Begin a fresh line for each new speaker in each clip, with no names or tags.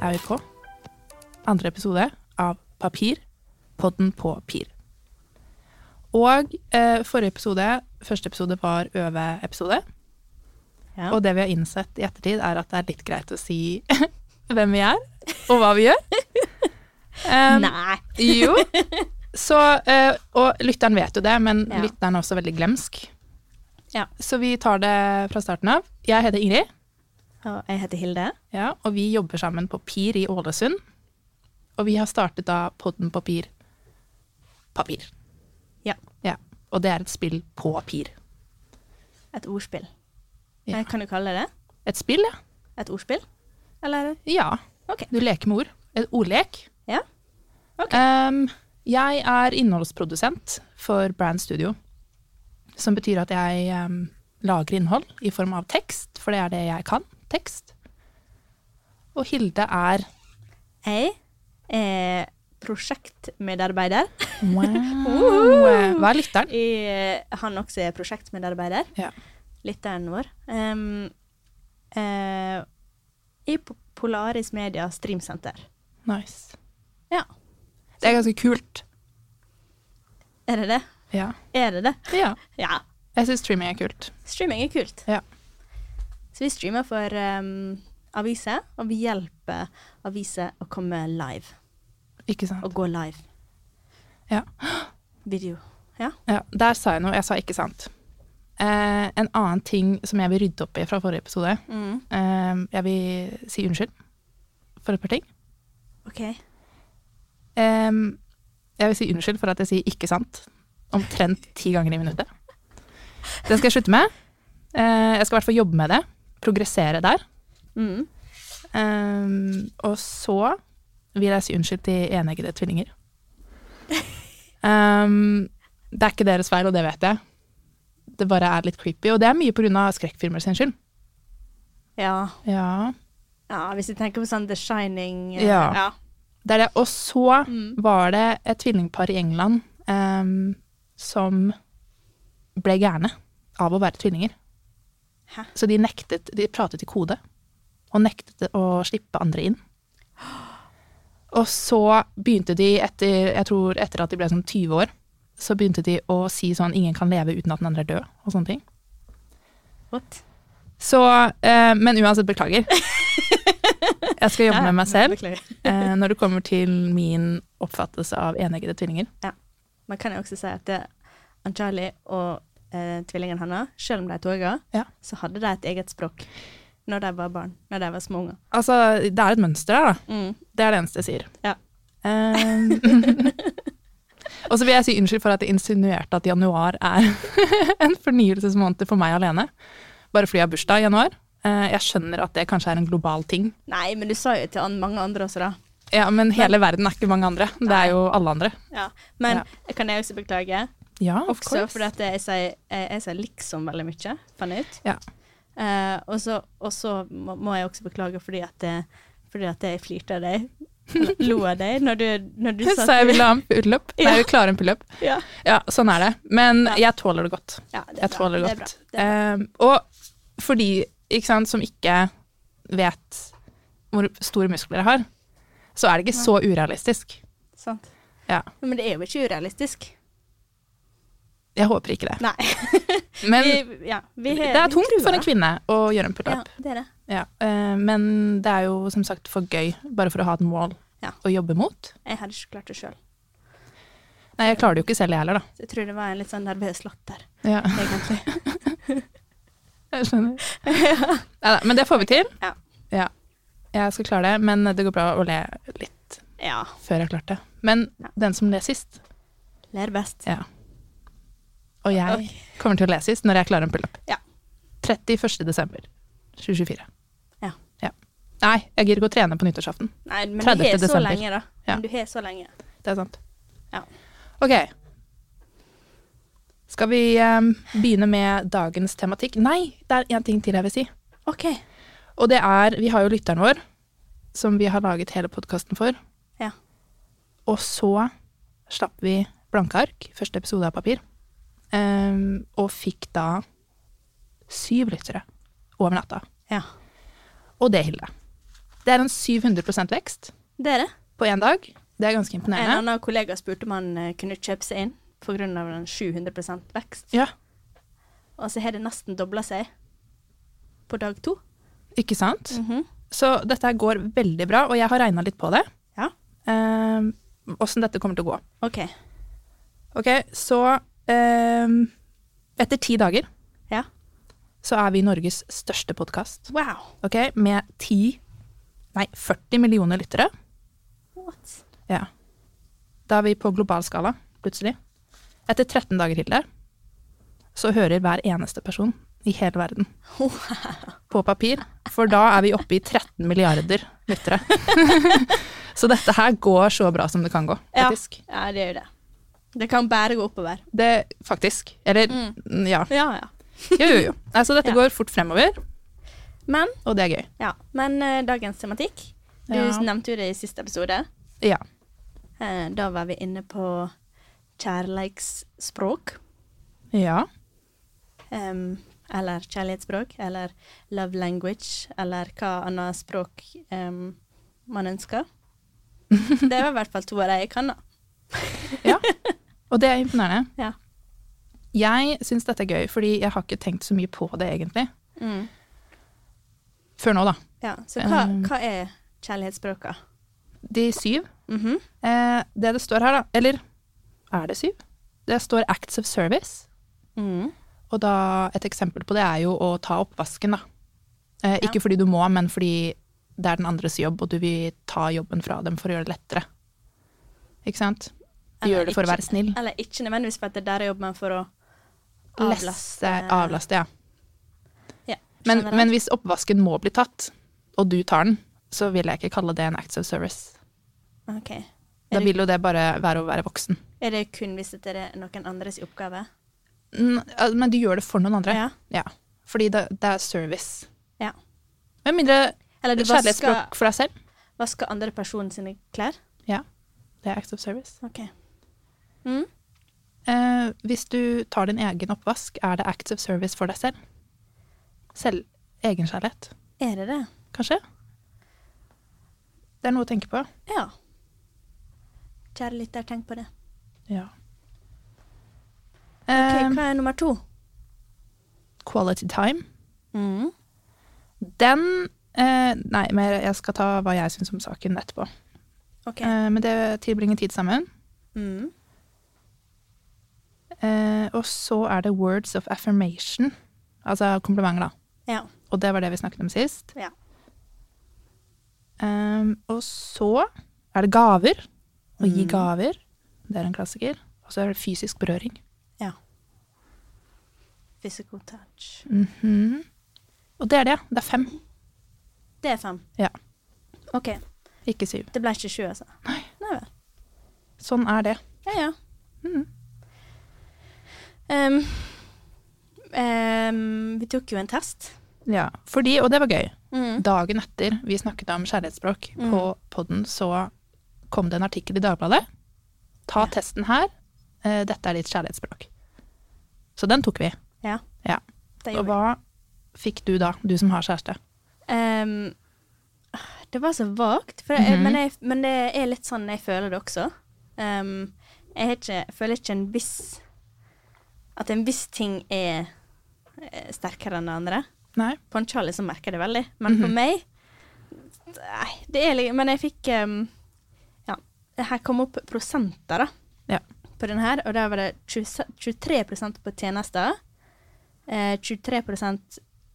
AIK. Andre episode av Papir, podden på pir. Og eh, forrige episode, første episode var øveepisode.
Ja.
Og det vi har innsett i ettertid, er at det er litt greit å si hvem vi er, og hva vi gjør. Em,
Nei.
jo. Så, eh, og lytteren vet jo det, men
Ja.
lytteren er også veldig glemsk.
Ja.
Så vi tar det fra starten av. Jeg heter Ingrid,
Og jeg heter Hilde.
ja, og vi jobber sammen på PIR i Ålesund. Og vi har startet da podden på PIR Papir.
Ja.
Ja. Og det er et spill på PIR.
Et ordspill.
Ja.
Nei, Kan du kalle det det?
Et spill, ja.
Et ordspill? Eller?
Ja.
Ok.
Du leker med ord. Et ordlek.
Ja. Ok.
Ehm, jeg er innholdsprodusent for Brand Studio, som betyr at jeg ehm, lager innhold i form av tekst, for det er det jeg kan. Tekst. Og Hilde er
Jeg er prosjektmedarbeider.
wow. Hva er lytteren?
I, eh, han også er prosjektmedarbeider.
Ja.
Lytteren vår. Ehm, eh, I Po- Polaris Media Streamsenter.
Nice.
Ja.
Det er ganske kult.
Er det det?
Ja.
Er det det?
ja.
Ja.
Jeg syns streaming er kult.
Streaming er kult.
Ja.
Så vi streamer for ehm, aviser, og vi hjelper aviser å komme live.
Ikke sant?
Å gå live.
Ja.
Video. Ja.
Ja, der sa jeg noe. Jeg sa ikke sant. Eh, en annen ting som jeg vil rydde opp i fra forrige episode
Mm.
eh, Jeg vil si unnskyld for et par ting.
OK.
Eh, jeg vil si unnskyld for at jeg sier ikke sant omtrent ti ganger i minuttet. Det skal jeg slutte med. Eh, jeg skal i hvert fall jobbe med det. Progressere der.
Mm.
Eh, og så vil jeg si unnskyld til eneggede tvillinger. Um, det er ikke deres feil, og det vet jeg. Det bare er litt creepy, og det er mye pga. skrekkfilmer sin skyld.
Ja.
Ja.
ja. Hvis vi tenker på sånn The Shining eh,
Ja.
ja.
Det er det. Og så var det et tvillingpar i England em, som ble gærne av å være tvillinger.
Hæ?
Så de nektet De pratet i kode, og nektet å slippe andre inn. Og så begynte de, etter, jeg tror etter at de ble sånn 20 år, så begynte de å si sånn 'ingen kan leve uten at den andre er død', og sånne ting.
What?
Så, eh, men uansett, beklager. Jeg skal jobbe med meg selv
Beklager.
eh, når det kommer til min oppfattelse av eneggede tvillinger.
Men kan jeg også si at det- Anjali og eh, tvillingen hennes, selv om de er toga,
Ja.
så hadde de et eget språk når de var barn. Når de var små unger.
Altså, det er et mønster her, da.
Mm.
Det er det eneste jeg sier.
Ja.
Eh, og så vil jeg si unnskyld for at jeg insinuerte at januar er en fornyelsesmåned for meg alene. Bare fordi jeg har bursdag i januar. Eh, jeg skjønner at det kanskje er en global ting.
Nei, men du sa jo til an mange andre også, da.
Ja, men hele verden er ikke mange andre. Det er jo alle andre.
Ja. Men
Ja.
kan jeg også beklage?
Ja, of
Også
course.
fordi at jeg sier, jeg, jeg sier liksom veldig mye, fant jeg ut.
Ja.
Eh, og så- og så må, må jeg også beklage fordi at, det, fordi at jeg flirte av deg, eller lo av deg, når du, når du sa
Så jeg ville ha en pull-up. Nei, jeg vil klare en pull-up.
Ja,
Ja, sånn er det. Men
Ja.
jeg tåler det godt.
ja det er
Jeg
bra.
tåler det
Det er
godt.
bra. Det er
Eh,
bra.
og for de ikke sant, som ikke vet hvor store muskler jeg har, så er det ikke så urealistisk.
Sant.
Ja,
Men det er jo ikke urealistisk.
jeg håper ikke det.
Nei.
Men
vi, ja, vi har-
det er
vi
tungt
tror
for
det.
en kvinne å gjøre en pullup.
Ja, det er det.
Ja. eh, men det er jo som sagt for gøy, bare for å ha et mål
Ja.
å jobbe mot.
Jeg hadde ikke klart det sjøl.
Nei, jeg klarer det jo ikke selv, jeg heller, da.
Jeg tror det var en litt sånn nervøs latter,
Ja,
egentlig.
jeg skjønner. Neida, men det får vi til.
Ja.
Ja. Jeg skal klare det, men det går bra å le litt
ja.
før jeg klarte det. Men
Ja.
den som ler sist,
Ler best.
Ja. Og jeg
Ok.
kommer til å lese sist når jeg klarer en pull-up.
Ja.
31. desember 2024.
Ja.
Nei, jeg gidder ikke å trene på nyttårsaften.
Nei, men
30.
du har så
desember.
lenge, da.
Ja.
Men du har så lenge.
Det er sant.
Ja.
Ok. Skal vi em, begynne med dagens tematikk? Nei, det er én ting til jeg vil si.
OK.
Og det er Vi har jo lytteren vår, som vi har laget hele podkasten for.
Ja.
Og så slapp vi blanke ark, første episode av papir, em, og fikk da syv lyttere over natta.
Ja.
Og det, Hilde, Det er en 700 vekst
Det er det.
på én dag. Det er ganske
En
imponerende.
annen kollega spurte om han eh, kunne kjøpe seg inn pga. den 700 vekst.
Ja,
Og så har det nesten dobla seg på dag to.
ikke sant?
Mhm.
Så dette her går veldig bra, og jeg har regna litt på det.
Ja.
Ehm, Åssen dette kommer til å gå.
OK.
Ok, så ehm, etter ti dager
Ja.
så er vi Norges største podkast.
Wow.
Ok, med ti Nei, 40 millioner lyttere.
What?
Ja. Da er vi på global skala, plutselig. Etter 13 dager, Hitler, så hører hver eneste person i hele verden på papir. For da er vi oppe i 13 milliarder lyttere. så dette her går så bra som det kan gå,
Ja.
faktisk.
Ja, det er jo det. Det kan bare gå oppover.
Det, faktisk. Eller, ja.
Ja, ja.
Jo, jo, jo. Nei, så dette
Mm. Ja.
går fort fremover,
Men,
og det er gøy.
ja. Men eh, dagens tematikk Du
Ja.
nevnte jo det i siste episode.
Ja.
Eh, da var vi inne på kjærleiksspråk.
Ja.
em, eller kjærlighetsspråk, eller love language, eller hva annet språk em, man ønsker. Det var i hvert fall to av de jeg kan, da.
ja. Og det er imponerende.
Ja.
Jeg syns dette er gøy, fordi jeg har ikke tenkt så mye på det, egentlig.
Mm.
Før nå, da.
ja. Så hva,
Um.
hva er kjærlighetsspråka?
De syv.
Mhm.
Eh, det det står her, da Eller er det syv? Det står acts of service.
Mm.
Og da et eksempel på det er jo å ta oppvasken, da. Eh, ikke fordi du må, men fordi det er den andres jobb, og du vil ta jobben fra dem for å gjøre det lettere. Ikke sant? Du
Eller
gjør det for å
ikke-
være snill.
Eller ikke nødvendigvis for at det er der jeg jobber, men for å
Lesse,
avlaste.
avlaste, ja.
Ja,
Men,
generelt.
men hvis oppvasken må bli tatt, og du tar den, så vil jeg ikke kalle det en act of service.
Ok.
Da
Er det,
vil jo det bare være å være voksen.
er det kun hvis det er noen andres oppgave?
Mm, al- Men du gjør det for noen andre.
Ja.
Fordi det, det er service.
Ja.
Med mindre
Eller du vasker,
kjærlighetsspråk for deg selv.
vasker andre personen sine klær?
Ja, det er act of service.
OK. Mm.
Eh, hvis du tar din egen oppvask, er det acts of service for deg selv. Selv egenkjærlighet,
Er det det?
kanskje? Det er noe å tenke på.
Ja. Kjære lytter, tenk på det.
Ja.
Ok,
Ehm,
Hva er nummer to?
quality time.
Mm.
Den eh, Nei, men jeg skal ta hva jeg syns om saken etterpå.
OK.
Eh, men det tilbringer tid sammen.
Mm.
Eh, og så er det words of affirmation. Altså komplimenter, da.
Ja.
Og det var det vi snakket om sist.
Ja.
Ehm, og så er det gaver. Å gi
Mm.
gaver. Det er en klassiker. Og så er det fysisk berøring.
ja. Physical touch.
Mhm. Og det er det. Det er fem,
Det er fem.
Ja.
OK.
ikke syv.
Det ble ikke sju, altså? Nei. Nei vel.
Sånn er det.
Ja, ja.
Mhm.
Em, em, Ehm, vi tok jo en test.
Ja, fordi, og det var gøy,
Mm.
dagen etter vi snakket om kjærlighetsspråk
Mm.
på podden, så kom det en artikkel i Dagbladet. Ta
Ja.
testen her, eh, dette er ditt kjærlighetsspråk. Så den tok vi.
Ja.
Ja.
Det
Og
gjorde vi.
hva fikk du da, du som har kjæreste?
Em, det var så vagt, for jeg,
Mhm.
men, jeg, men det er litt sånn jeg føler det også. Em, jeg har ikke, føler ikke en viss At en viss ting er eh, sterkere enn det andre.
Nei.
På en Charlie så merker jeg det veldig, men på
Mhm.
meg Nei, det er litt Men jeg fikk em, Ja, her kom opp prosenter, da.
Ja.
På den her, og der var det 20, 23 på tjenester. Eh, 23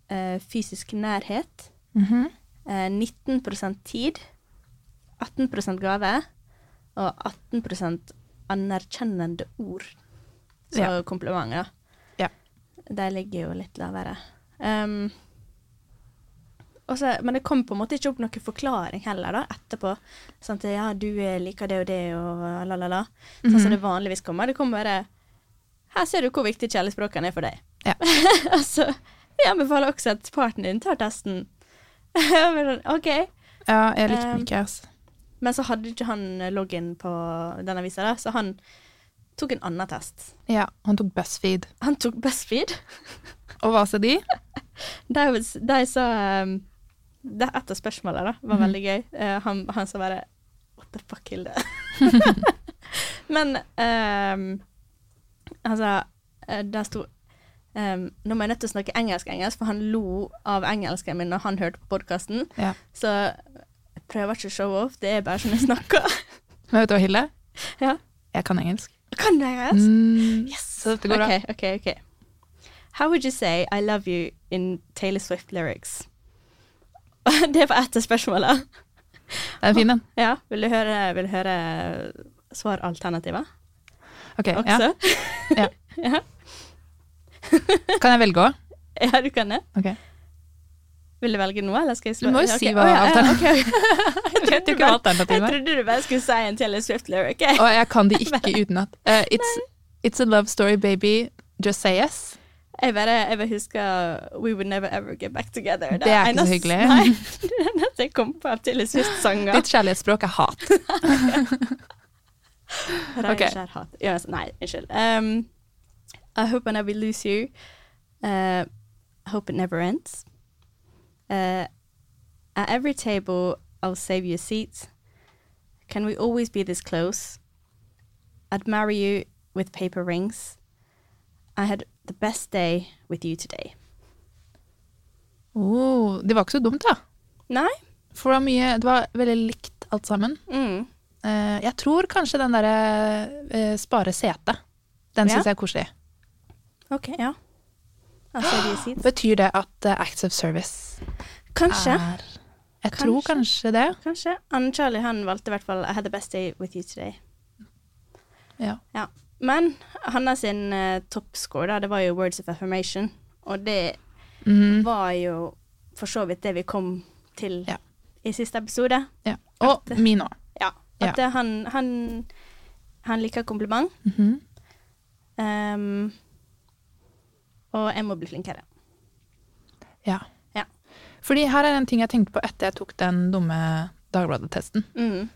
eh, fysisk nærhet.
Mhm.
Eh, 19 tid, 18 gave og 18 anerkjennende ord. Så
Ja.
komplimenter.
Ja.
De ligger jo litt lavere. Ehm, og så- men det kom på en måte ikke opp noen forklaring heller da, etterpå. Sånn at ja, du eh, liker det og det og la, la, la.
Mhm.
Sånn som det vanligvis kommer. Det kommer bare Her ser du hvor viktig kjærlighetsspråkene er for deg.
Ja.
altså, vi anbefaler også at partneren din tar testen. Jeg var sånn, OK.
Ja, jeg likte
Um,
den ikke, ass.
Men så hadde ikke han login på den avisa, da, så han tok en annen test.
Ja, han tok BuzzFeed.
Han tok BuzzFeed.
Og hva sa de?
De, de sa um, det et av spørsmålene da, var veldig gøy. Eh, han, han sa bare What the fuck, Hilde? Men ehm, han sa eh, Der sto ehm, Nå må jeg nødt til å snakke engelsk-engelsk, for han lo av engelsken min når han hørte på podkasten.
Ja.
Så jeg prøver ikke å show off, det er bare sånn jeg snakker.
Men vet du hva, Hilde?
ja.
Jeg kan engelsk.
Kan du engelsk?
Mm, Så dette går bra.
Okay, okay, okay. How would you say I love you in Taylor Swift lyrics? Det var ett av spørsmålene.
Det er en fin en.
Ja, vil du høre, vil du høre svaralternativet
Ok, ja.
også?
Ja.
ja.
Kan jeg velge òg?
Ja, du kan det.
Ok.
Vil du velge noe, eller skal jeg
Du må jo
Ja, ok.
si hva
Å, ja, ja,
alternativet-
ok, ok. jeg,
vet jo
trodde
ikke hva
bare- jeg
alternativet er.
trodde du bare skulle si en Taylor Swift lyric. jeg.
Og jeg kan de ikke utenat. Eh, it's, it's a love story, baby. Just say yes.
Jeg bare, jeg bare husker We Would Never Ever Get Back Together.
Det er ikke så
eneste-
hyggelig.
Nei, det er det eneste jeg kom på av Taylor Swift-sanger.
Ditt kjærlighetsspråk er hat.
Rein
Ok.
skjær hat. Ja, altså, nei, unnskyld. Um, I hope I never lose you. Uh, I hope it never ends. Uh, at every table, I'll save you a seat. Can we always be this close? I'd marry you with paper rings. I had the best day with you today.
Oh, det var ikke så dumt, da.
Nei?
For det var, mye, det var veldig likt alt sammen.
Mm.
Eh, jeg tror kanskje den derre eh, spare sete. Den
Ja.
syns jeg er koselig.
OK, ja. I'll save you a seat.
Betyr det at eh, Acts of Service
Kanskje.
er Jeg tror kanskje det.
Kanskje. Anne Charlie han valgte i hvert fall I had the best day with you today.
Ja.
Ja. Men hans sin eh, toppscore, da, det var jo Words of Affirmation. Og det
Mhm.
var jo for så vidt det vi kom til
Ja.
i siste episode.
ja. Og min òg.
Ja.
Ja.
At det, han, han, han liker kompliment.
Mhm.
ehm, og jeg må bli flinkere.
Ja.
Ja.
Fordi her er en ting jeg tenkte på etter jeg tok den dumme Dagbladet-testen.
Mm.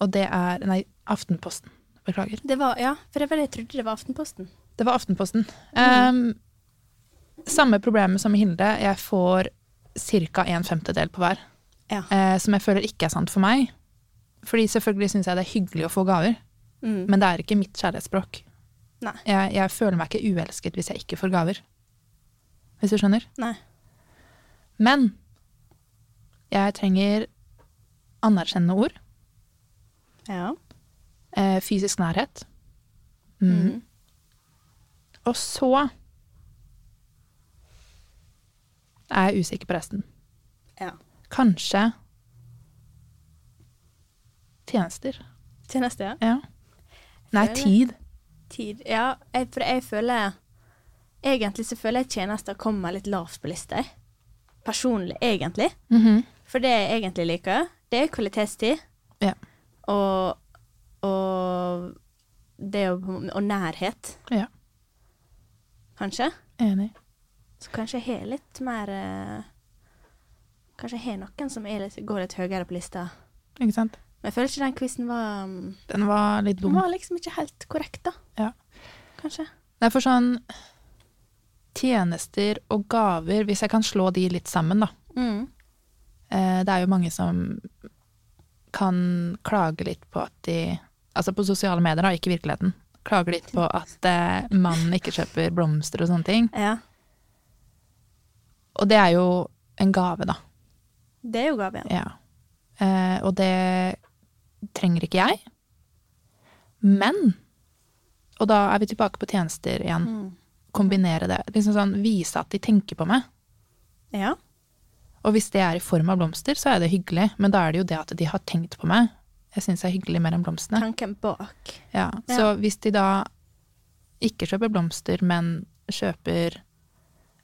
Og det er Nei, Aftenposten. Beklager.
Det var, ja, for det var det jeg trodde det var Aftenposten.
Det var Aftenposten.
Mm.
Um, samme problemet som med Hilde. Jeg får ca. en femtedel på hver.
Ja.
eh, som jeg føler ikke er sant for meg. Fordi selvfølgelig syns jeg det er hyggelig å få gaver,
Mm.
men det er ikke mitt kjærlighetsspråk.
Nei.
Jeg, jeg føler meg ikke uelsket hvis jeg ikke får gaver. Hvis du skjønner?
Nei.
Men jeg trenger anerkjennende ord.
Ja.
Eh, fysisk nærhet. Mm.
Mm.
Og så er jeg usikker på resten.
ja.
Kanskje tjenester.
Tjeneste, ja.
Ja. Nei,
Føler-
tid.
Tid. Ja, jeg, for jeg føler Egentlig så føler jeg tjenester kommer litt lavt på lista. jeg. Personlig, egentlig.
Mhm.
For det jeg egentlig liker, det er kvalitetstid.
Ja.
Og, og det å Og nærhet,
ja.
kanskje.
Enig.
Så kanskje jeg har litt mer eh, Kanskje jeg har noen som er litt, går litt høyere på lista.
Ikke sant?
Men jeg føler ikke den quizen var mm,
Den var litt
Den
dum.
var liksom ikke helt korrekt, da.
Ja.
Kanskje.
Nei, for sånn tjenester og gaver, hvis jeg kan slå de litt sammen, da.
Mm.
Eh, Det er jo mange som kan klage litt på at de Altså på sosiale medier, da, ikke i virkeligheten. Klager litt på at eh, mannen ikke kjøper blomster og sånne ting.
Ja.
Og det er jo en gave, da.
Det er jo gave, ja.
Ja. Eh, og det trenger ikke jeg. Men Og da er vi tilbake på tjenester igjen.
Mm.
Kombinere det. Liksom sånn, Vise at de tenker på meg.
ja.
Og hvis det er i form av blomster, så er det hyggelig. Men da er det jo det at de har tenkt på meg. Jeg syns er hyggelig mer enn blomstene.
Tanken bak.
Ja,
Ja.
så hvis de da ikke kjøper blomster, men kjøper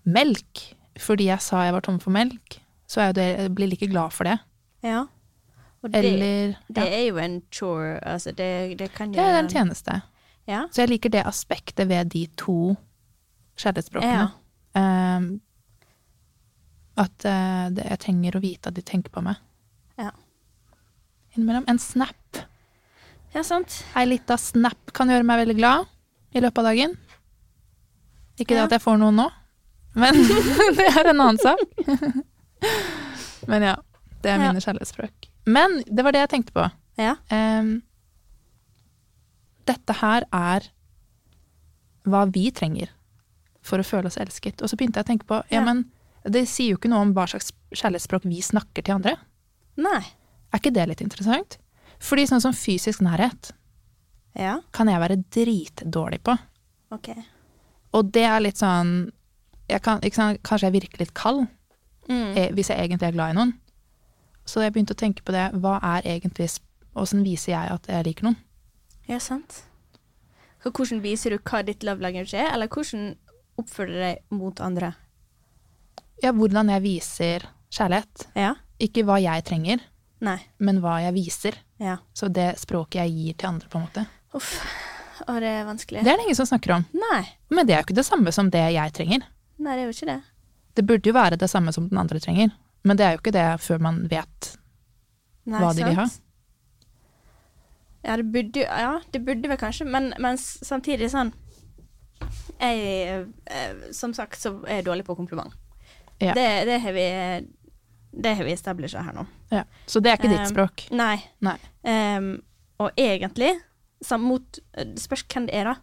melk, fordi jeg sa jeg var tom for melk, så er jo det, jeg blir like glad for det.
Ja. Og det,
Eller
det er jo en chore, altså det, det kan jo
ja, det er en tjeneste.
Ja.
Så jeg liker det aspektet ved de to
Ja.
kjærlighetsspråkene. Ehm, at eh, det, jeg trenger å vite at de tenker på meg.
Ja.
Innimellom. En snap.
ja, sant.
Ei lita snap kan gjøre meg veldig glad i løpet av dagen. Ikke det
Ja.
at jeg får noen nå, men det er en annen sak. Men ja, det er
Ja.
mine kjærlighetsspråk. Men det var det jeg tenkte på.
Ja.
Em, dette her er hva vi trenger for å føle oss elsket. Og så begynte jeg å tenke på, ja,
Ja.
men det sier jo ikke noe om hva slags kjærlighetsspråk vi snakker til andre.
Nei.
Er ikke det litt interessant? Fordi sånn som fysisk nærhet
Ja.
kan jeg være dritdårlig på.
OK.
Og det er litt sånn jeg kan, ikke sant, Kanskje jeg virker litt kald
Mm.
eh, hvis jeg egentlig er glad i noen. Så jeg begynte å tenke på det. Hva er egentlig sp- Åssen viser jeg at jeg liker noen?
Ja, sant. Så hvordan viser du hva ditt love language er, eller hvordan oppfører du deg mot andre?
Ja, hvordan jeg viser kjærlighet.
Ja?
Ikke hva jeg trenger,
Nei.
men hva jeg viser.
Ja.
Så det språket jeg gir til andre, på en måte.
Uff. Å, det er vanskelig.
Det er det ingen som snakker om.
Nei.
Men det er jo ikke det samme som det jeg trenger.
Nei, det er jo ikke det.
Det burde jo være det samme som den andre trenger, men det er jo ikke det før man vet.
Nei,
Hva de vil ha.
sant? Ja, det burde jo Ja, det burde vel kanskje, men, men s- samtidig sånn Jeg eh, Som sagt så er jeg dårlig på kompliment.
Ja.
Det, det har vi Det har vi establisha her nå.
Ja. Så det er ikke ditt
Um,
språk.
Nei.
Nei.
Ehm, og egentlig sam- mot Det spørs hvem det er, da.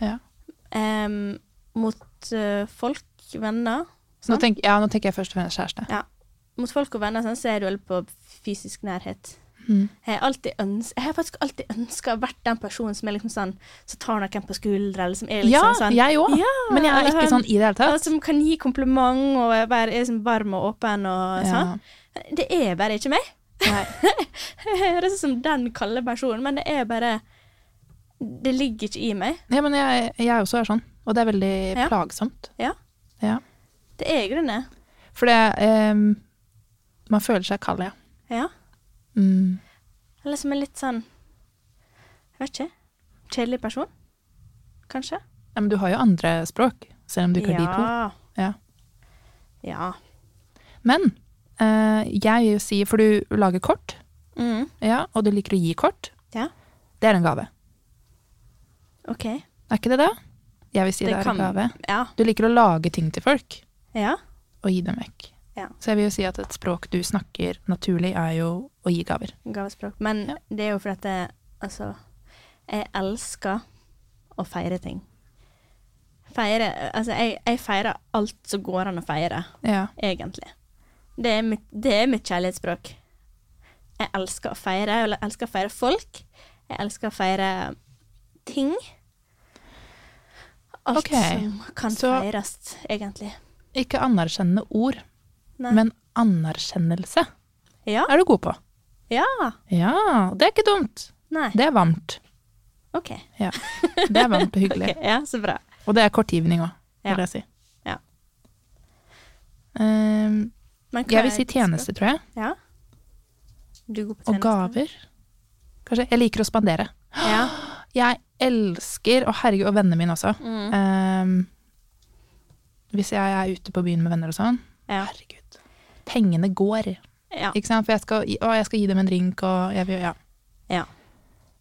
Ja.
Ehm, mot eh, folk, venner
Nå
sant?
tenk, ja, nå tenker jeg først og fremst kjæreste.
Mot folk og venner sånn, så er jeg dårlig på fysisk nærhet.
Mm.
Jeg, har alltid øns jeg har faktisk alltid ønska å vært den personen som er liksom sånn Som tar noen på skuldra, eller som er liksom
Ja,
sånn
jeg òg.
Ja,
Men jeg er
eller
ikke
han-
sånn i det hele
ja,
tatt.
Som kan gi kompliment og være er liksom varm og åpen og
Ja.
sånn. Det er bare ikke meg.
Nei.
Jeg høres ut som den kalde personen, men det er bare Det ligger ikke i meg.
Ja, men jeg, jeg også er sånn, og det er veldig
Ja.
plagsomt.
Ja.
Ja.
Det er grunnen.
For det ehm, Man føler seg kald, ja.
Ja.
Mm.
Eller som en litt sånn Jeg vet ikke. Kjedelig person, kanskje.
ja. Men du har jo andre språk, selv om du ikke har de to. Ja.
Ja.
Men eh, jeg vil jo si, for du lager kort,
Mm.
ja, og du liker å gi kort,
Ja.
det er en gave.
OK.
Er ikke det det? Jeg vil si det, er en gave.
Ja.
Du liker å lage ting til folk
Ja.
og gi dem vekk.
Ja.
Så jeg vil jo si at et språk du snakker naturlig, er jo å gi gaver.
Gavespråk. Men
Ja.
det er jo fordi at jeg, altså, jeg elsker å feire ting. Feire Altså, jeg, jeg feirer alt som går an å feire,
Ja.
egentlig. Det er mitt, det er mitt kjærlighetsspråk. Jeg elsker å feire. Jeg elsker å feire folk. Jeg elsker å feire ting. Alt
Ok,
som kan
så-
feires, egentlig.
Ikke anerkjennende ord,
Nei.
men anerkjennelse
ja.
er du god på.
Ja.
Ja, det er ikke dumt.
Nei.
Det er varmt.
OK.
Ja. Det er varmt og hyggelig.
Ok, Ja, så bra.
Og det er kortgivning òg,
Ja.
vil jeg si.
Ja.
Ehm,
Men hva
jeg vil
er
si
ditt språk?
tjeneste, tror jeg.
Ja. Du er god på
Og gaver. Kanskje. Jeg liker å spandere.
Ja.
Jeg elsker, og herregud, og vennene mine også.
Mm.
Ehm, hvis jeg er ute på byen med venner og sånn,
Ja.
herregud. Pengene går,
ja.
ikke sant? For jeg skal, gi- å, jeg skal gi dem en drink, og jeg vil, ja.
ja.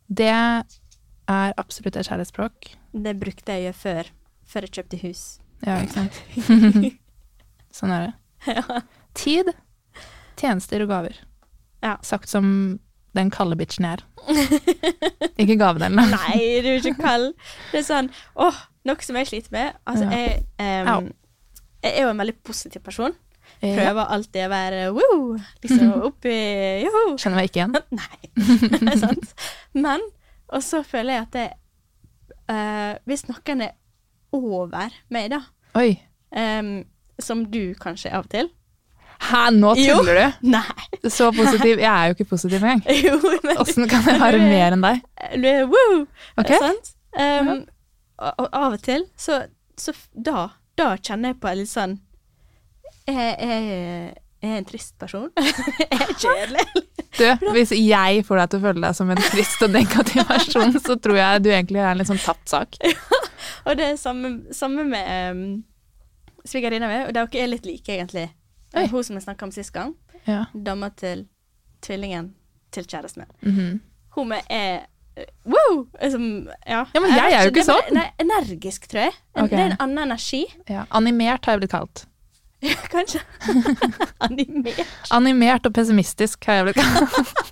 Det er absolutt et kjærlighetsspråk.
Det brukte jeg å gjøre før. Før jeg kjøpte hus.
Ja, ikke sant? sånn er det. Tid, tjenester og gaver.
Ja.
Sagt som den kalde bitchen jeg er. Ikke gavedelen, da.
Nei, du er ikke kald. Det er sånn åh, noe som jeg sliter med. Altså,
Ja.
jeg, em,
Au.
jeg er jo en veldig positiv person.
Jeg
Prøver alltid å være woo, liksom oppi joho.
kjenner meg ikke igjen.
Nei, det er sant. Men, og så føler jeg at det eh, Hvis noen er over meg, da,
Oi.
em, som du kanskje er av og til
Hæ, nå tuller du?
Nei.
Så positiv. Jeg er jo ikke positiv engang.
Jo, men
Åssen kan jeg være mer enn deg?
du Eh, er woo!
Ok.
Sant? Um, og, og av og til, så, så f- da, da kjenner jeg på litt sånn Jeg, jeg, jeg er en trist person. jeg er kjedelig.
Du, hvis jeg får deg til å føle deg som en trist og negativ person, så tror jeg du egentlig er en litt sånn tapt sak.
Og det er samme, samme med um, svigerinna mi, og dere er litt like, egentlig.
Oi.
Hun som jeg snakka om sist gang,
Ja.
dama til tvillingen til kjæresten min.
Mhm.
Hun med er eh, Wow! Liksom, ja.
Ja, men jeg er jo
vet
ikke
det er bare-
sånn.
Nei, energisk, tror jeg. En,
Ok.
Det er en annen energi.
ja. Animert har jeg blitt kalt.
Ja, kanskje. Animert.
Animert og pessimistisk har jeg blitt kalt.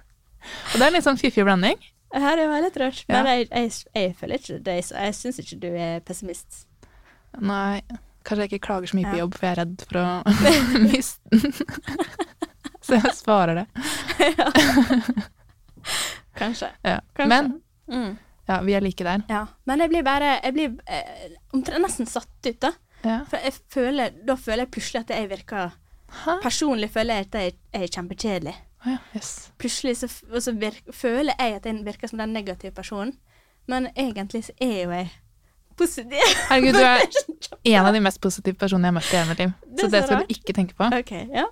og det er en litt sånn fiffig blanding.
Ja, det var litt rart.
Ja.
Men jeg, jeg, jeg føler ikke det. Jeg syns ikke du er pessimist.
Nei, kanskje jeg ikke klager så mye på
Ja.
jobb, for jeg er redd for å miste den. så jeg svarer det.
Kanskje.
Ja.
Kanskje.
Men
Mm.
ja, vi er like der.
Ja. Men jeg blir bare Jeg blir eh, omtrent nesten satt ut, da.
Ja.
For jeg føler, da føler jeg plutselig at jeg virker
Hæ?
Personlig føler jeg at jeg er kjempekjedelig.
Å ja, yes.
Plutselig så, f- og så virk, føler jeg at jeg virker som den negative personen, men egentlig så er jo jeg positiv.
Herregud, du er en av de mest positive personene jeg har møtt i hele mitt liv.
Det
Så
er
det
så
skal
rart.
du ikke tenke på.
OK. Ja.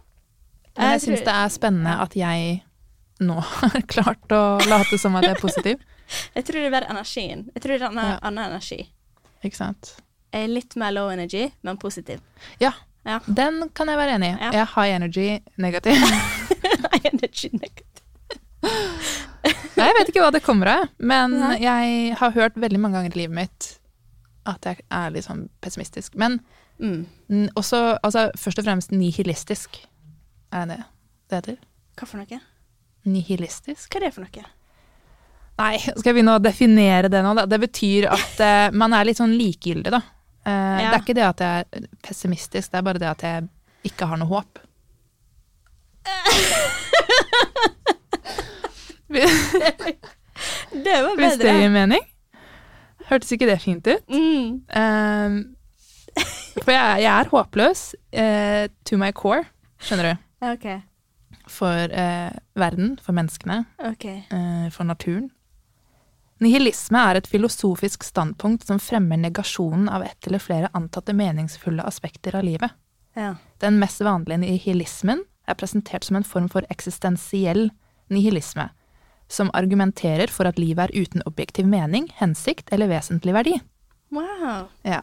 Men jeg
tror-
syns det er spennende at jeg nå har klart å late som at jeg er positiv.
Jeg tror det er bare energien. Jeg tror det er annen,
Ja.
annen energi.
Ikke sant?
Jeg er litt mer low energy, men positiv.
Ja,
Ja.
den kan jeg være enig i.
Ja.
Jeg er high energy negativ.
energy negativ.
Nei, jeg vet ikke hva det kommer av, men
Nei.
jeg har hørt veldig mange ganger i livet mitt at jeg er litt sånn pessimistisk. Men
Mm.
mm, også, altså først og fremst nihilistisk. Er det det heter?
Hva for noe?
Nihilistisk?
Hva er det for noe?
Nei, skal jeg begynne å definere det nå? Da? Det betyr at eh, man er litt sånn likegyldig, da. Eh,
Ja.
Det er ikke det at jeg er pessimistisk, det er bare det at jeg ikke har noe håp. Hvis
Det var
det
bedre.
gir mening? Hørtes ikke det fint ut?
Mm.
Ehm, for jeg, jeg er håpløs eh, to my core, skjønner du.
OK.
For eh, verden, for menneskene,
ok.
eh, for naturen. Nihilisme er et filosofisk standpunkt som fremmer negasjonen av ett eller flere antatte meningsfulle aspekter av livet.
Ja.
Den mest vanlige nihilismen er presentert som en form for eksistensiell nihilisme, som argumenterer for at livet er uten objektiv mening, hensikt eller vesentlig verdi.
Wow.
Ja.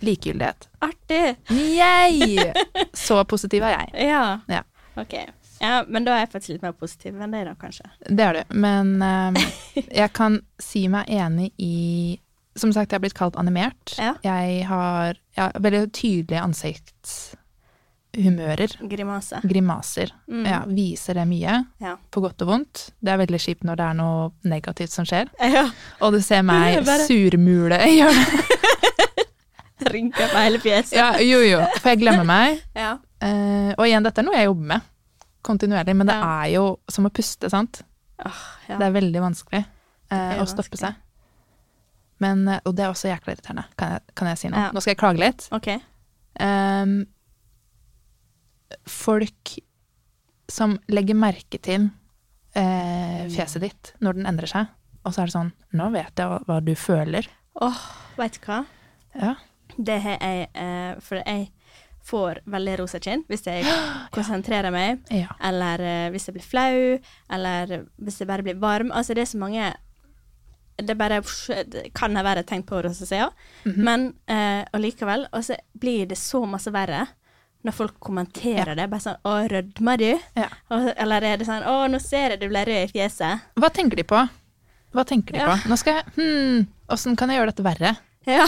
Likegyldighet.
Artig.
Yay! Så positiv er jeg.
Ja.
Ja,
OK. Ja, men da er jeg faktisk litt mer positiv enn deg, da, kanskje.
det er du. Men eh, jeg kan si meg enig i Som sagt, jeg er blitt kalt animert.
Ja.
Jeg har ja, veldig tydelige ansiktshumører.
Grimase.
Grimaser.
Mm.
Ja, viser det mye,
Ja.
på godt og vondt. Det er veldig kjipt når det er noe negativt som skjer.
ja.
Og du ser meg
Det er bare-
surmule i hjørnet.
Rynker på hele fjeset.
Ja, jo, jo. For jeg glemmer meg.
Ja.
Eh, og igjen, dette er noe jeg jobber med kontinuerlig, men det
Ja.
er jo som å puste, sant?
Åh, ja.
Det er veldig vanskelig eh,
er
å stoppe
vanskelig.
seg. Men, eh, og det er også jækla irriterende, kan jeg, kan jeg si nå.
Ja.
Nå skal jeg klage litt.
OK.
Ehm, folk som legger merke til eh,
Mm.
fjeset ditt når den endrer seg, og så er det sånn Nå vet jeg hva, hva du føler.
Åh, vet du hva?
Ja.
Det har jeg, eh, for jeg får veldig rosa kinn hvis jeg konsentrerer meg,
ja.
eller eh, hvis jeg blir flau, eller hvis jeg bare blir varm. Altså, det er så mange Det er bare det kan ha vært et tegn på rosacea,
Mhm.
men eh, allikevel. og så blir det så masse verre når folk kommenterer det. Bare sånn 'Å, rødmer du?'
Ja.
Og, eller er det sånn 'Å, nå ser jeg du ble rød i fjeset'.
Hva tenker de på? Hva tenker de
Ja.
på? Nå skal jeg Hm, åssen kan jeg gjøre dette verre?
Ja.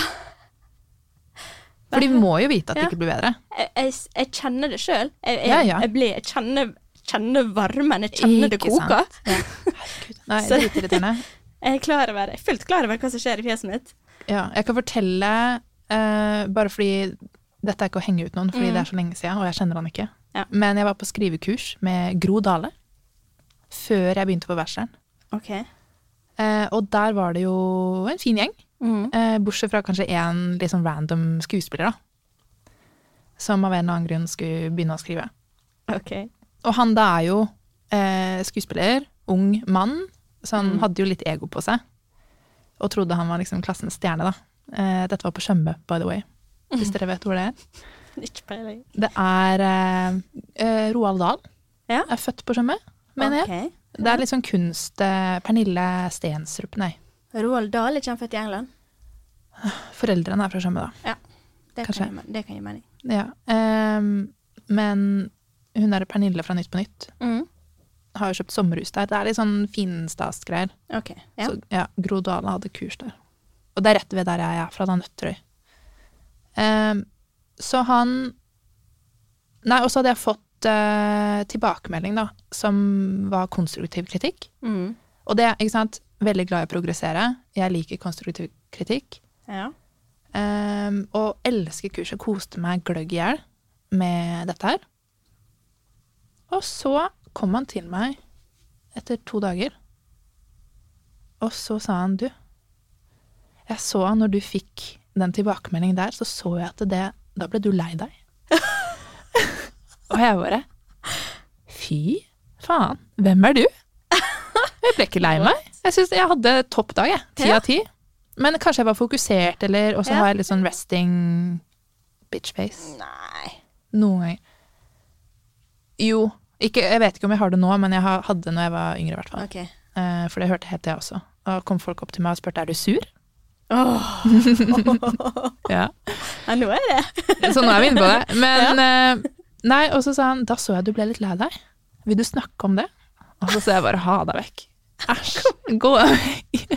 For de må jo vite at det
Ja.
ikke blir bedre.
jeg, jeg, jeg kjenner det sjøl. Jeg, jeg,
Ja, ja.
jeg, blir- jeg kjenner, kjenner varmen, jeg kjenner det
Ikke sant?
koker.
Herregud. Nei,
Så-
det er litt irriterende.
Jeg er, klar over, jeg er fullt klar over hva som skjer i fjeset mitt.
Ja, jeg kan fortelle, eh, bare fordi dette er ikke å henge ut noen, fordi det er så lenge siden, og jeg kjenner han ikke.
Ja.
Men jeg var på skrivekurs med Gro Dale, før jeg begynte på bacheloren.
Ok.
Eh, og der var det jo en fin gjeng,
Mm.
eh, bortsett fra kanskje en litt sånn random skuespiller da, som av en eller annen grunn skulle begynne å skrive.
Ok.
Og han da er jo eh, skuespiller, ung mann, så han hadde jo litt ego på seg. Og trodde han var liksom klassens stjerne, da. Eh, dette var på Tjøme, by the way. Hvis dere vet hvor det er.
Ikke peiling.
Det er eh, eh, Roald Dahl.
Ja.
Er født på Tjøme, mener jeg.
Ok.
Det er litt sånn kunst eh, Pernille Stensrup, nei.
Roald Dahl er ikke han født i England?
Foreldrene er fra Tjøme, da.
Ja. Det
Kanskje.
kan, gi, det kan gi mening.
Ja. ehm, men hun er Pernille fra Nytt på Nytt. Har jo kjøpt sommerhus der. Det er litt sånn finstasgreier.
Ok. Ja.
Så, ja, Gro Dale hadde kurs der. Og det er rett ved der jeg er fra, da Nøtterøy. Ehm, så han Nei, og så hadde jeg fått eh, tilbakemelding da, som var konstruktiv kritikk.
Mm.
Og det, ikke sant, veldig glad i å progressere. Jeg liker konstruktiv kritikk.
Ja.
Ehm, og elsker kurset. Koste meg gløgg i hjel med dette her. Og så kom han til meg etter to dager. Og så sa han, du, jeg så når du fikk den tilbakemeldingen der, så så jeg at det Da ble du lei deg. og jeg bare Fy faen, hvem er du? Jeg ble ikke lei meg. Jeg synes jeg hadde topp dag, jeg. Ti
Ja.
av ti. Men kanskje jeg var fokusert, eller Og så
Ja.
har jeg litt sånn resting bitch face.
Nei.
Noen ganger. Jo. Ikke, jeg vet ikke om jeg har det nå, men jeg har- hadde det når jeg var yngre. i hvert fall.
OK.
Eh, For det hørte helt jeg også. Da kom folk opp til meg og spurte er du sur.
Åh.
Ja.
Ja, nå er det.
Så nå er vi inne på det. Men eh, Nei, og så sa han da så jeg du ble litt lei deg. Vil du snakke om det? Og så sa jeg bare ha deg vekk. Æsj. Gå vekk.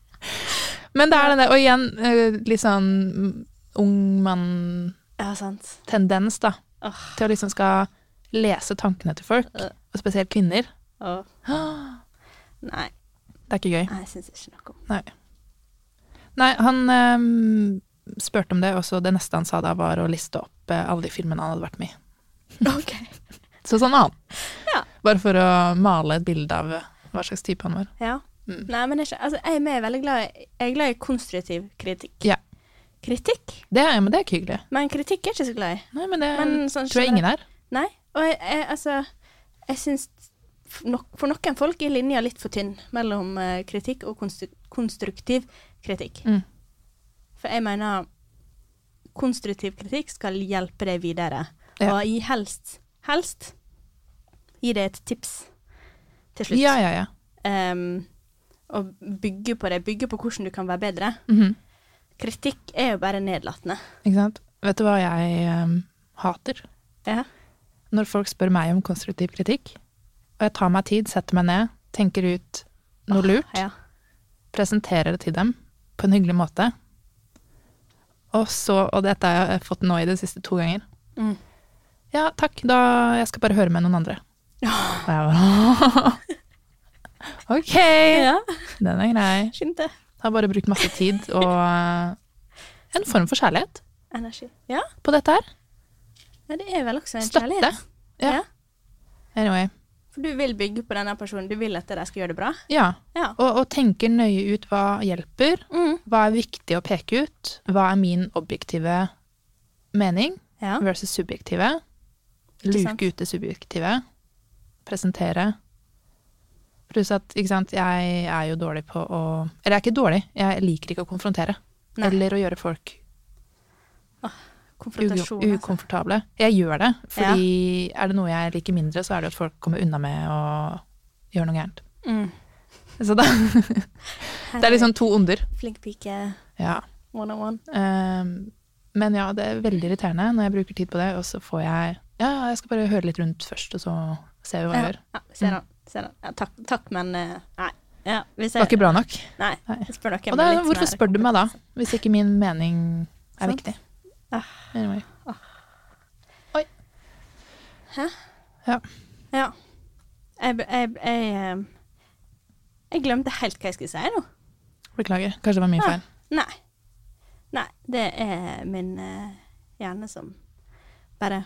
Men det er den der, og igjen eh, litt sånn mm, ung mann
Ja, sant.
tendens da,
Åh.
til å liksom skal lese tankene til folk,
Øh.
og spesielt kvinner.
Åh. Nei,
Det er ikke gøy.
jeg syns ikke noe om
Nei, Nei han ehm, spurte om det, og så det neste han sa da, var å liste opp eh, alle de filmene han hadde vært med i.
OK.
Så sånn er han.
Ja.
Bare for å male et bilde av eh, hva slags type han var.
Ja.
Mm.
Nei, men jeg, altså, jeg er med veldig glad i, jeg er glad i konstruktiv kritikk.
Ja.
Kritikk?
Det er, men det er ikke hyggelig.
Men kritikk er jeg ikke så glad i.
Nei, men det
Men sånn
Mm. tror jeg ingen er.
Nei. Og jeg, jeg, altså, jeg syns f- nok, for noen folk er linja litt for tynn mellom eh, kritikk og konstru konstruktiv kritikk.
Mm.
For jeg mener konstruktiv kritikk skal hjelpe deg videre.
Ja.
Og gi helst, helst gi deg et tips til slutt.
Ja, ja, ja.
Em, og bygge på det. Bygge på hvordan du kan være bedre.
Mhm.
Kritikk er jo bare nedlatende.
Ikke sant? Vet du hva jeg ehm, hater?
Ja.
når folk spør meg om konstruktiv kritikk, og jeg tar meg tid, setter meg ned, tenker ut noe lurt,
ja.
presenterer det til dem på en hyggelig måte, og så, og dette har jeg fått nå i det siste to ganger,
Mm.
ja takk, da jeg skal bare høre med noen andre.
Ja.
Og jeg bare, ok,
ja.
den er grei.
Skynd deg.
Har bare brukt masse tid og eh, en form for kjærlighet
Energi. Ja.
på dette her.
Ja, det er vel også en
Støtte.
kjærlighet.
Ja. Anyway,
For du vil bygge på denne personen. Du vil at de skal gjøre det bra.
ja,
Ja.
og, og tenker nøye ut hva hjelper,
Mm.
Hva er viktig å peke ut? Hva er min objektive mening
ja.
versus subjektive?
Ikke sant.
Luke ut det subjektive. Presentere. Pluss at ikke sant, jeg er jo dårlig på å Eller jeg er ikke dårlig, jeg liker ikke å konfrontere.
Nei.
Eller å gjøre folk
Konfrontasjon.
uko-
Altså.
ukomfortable. Jeg gjør det, fordi er det noe jeg liker mindre, så er det at folk kommer unna med å gjøre noe gærent.
Mm.
Så da, det er
sånn-
liksom to onder.
Flink pike
Ja.
one on one.
Um, men ja, det er veldig irriterende når jeg bruker tid på det, og så får jeg Ja, ja, jeg skal bare høre litt rundt først, og så ser vi hva jeg
Ja.
gjør.
ja. Ser han. Ser han. Ja, takk, takk, men eh, Nei. Ja, vi
Det var
ser.
ikke bra nok.
Nei.
Nei.
Spør noen
Og da,
med litt sånn
hvorfor
mer
spør du meg da,
kompetanse.
hvis ikke min mening er
Sant.
viktig?
Ah.
Anyway.
Ja. Jeg, jeg, jeg, ehm, jeg glemte helt hva jeg skulle si nå.
Beklager. Kanskje det var min
Ja.
feil.
Nei. Nei, det er min eh, hjerne som bare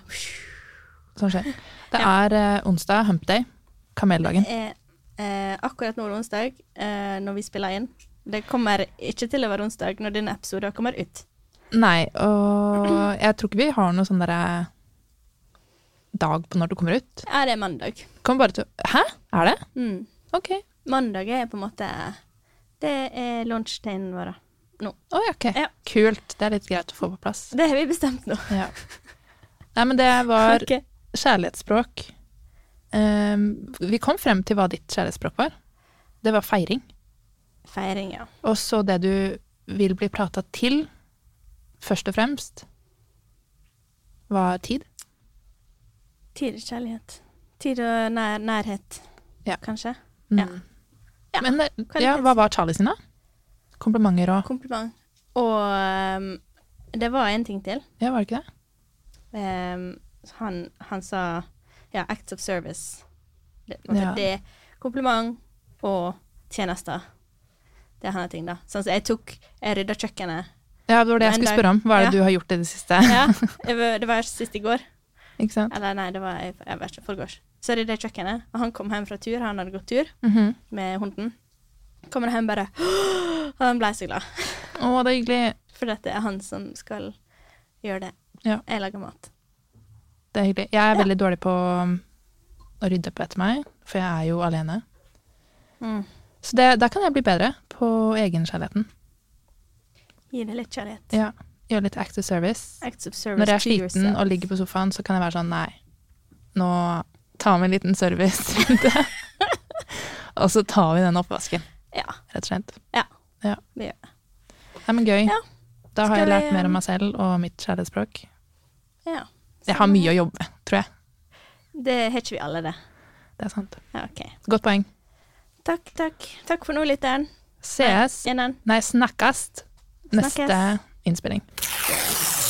Sånn skjer. Det er eh, onsdag, hump day. Kameldagen.
er, eh, Akkurat nå er det onsdag, eh, når vi spiller inn. Det kommer ikke til å være onsdag når denne episoden kommer ut.
Nei, og jeg tror ikke vi har noe sånn derre dag på når det kommer ut.
Ja, det er mandag.
Kommer bare til Hæ? Er det?
Mm.
Ok.
Mandag er på en måte Det er lunsjtiden vår.
Å ja, ok.
Ja.
Kult. Det er litt greit å få på plass.
Det har vi bestemt nå.
Ja. Nei, men det var
Ok.
kjærlighetsspråk. Ehm, vi kom frem til hva ditt kjærlighetsspråk var. Det var feiring.
Feiring, ja.
Og så det du vil bli prata til, først og fremst, var tid.
Tid og kjærlighet. Tid og nær, nærhet,
Ja.
kanskje.
Mm.
Ja. Ja,
Men eh, ja, hva var Charlie sin, da? Komplimenter og
Kompliment. Og ehm, det var en ting til.
Ja, var det ikke det?
Ehm, han, han sa ja, acts of service. Det, på en måte,
Ja.
det er kompliment og tjenester. Det er hans ting, da. Sånn som jeg tok Jeg rydda kjøkkenet.
Ja, det var det jeg
Men
skulle
det-
spørre om. Hva er det
ja.
du har gjort i det siste?
Ja, jeg, var- det var sist i går.
Ikke sant?
Eller nei, det var jeg, jeg vet ikke, forgårs. Så rydda jeg kjøkkenet, og han kom hjem fra tur. Han hadde gått tur
Mhm.
med hunden. Kommer hjem bare Og han ble så glad.
Å, det er hyggelig.
For dette er han som skal gjøre det.
Ja.
Jeg lager mat.
Det er hyggelig. Jeg er
Ja.
veldig dårlig på um, å rydde opp etter meg, for jeg er jo alene.
Mm.
Så det, der kan jeg bli bedre på egenkjærligheten.
Gi det litt kjærlighet.
Ja. Gjøre litt active service.
Acts of service
Når jeg er
to
sliten
yourself.
og ligger på sofaen, så kan jeg være sånn nei, nå tar vi en liten service rundt det. og så tar vi den oppvasken,
Ja.
rett og slett.
Ja.
Ja.
Det gjør
Nei, men gøy.
Ja.
Da har jeg
Skal vi,
lært mer om meg selv og mitt kjærlighetsspråk.
Sånn, ja.
Jeg har mye å jobbe med, tror jeg.
Det har ikke vi alle, det.
Det er sant.
Ja, OK.
Godt poeng.
Takk, takk. Takk for nå, lytteren.
Ses.
Gjennom.
Nei, snakkast. Neste
Snakkes.
innspilling.
Yes.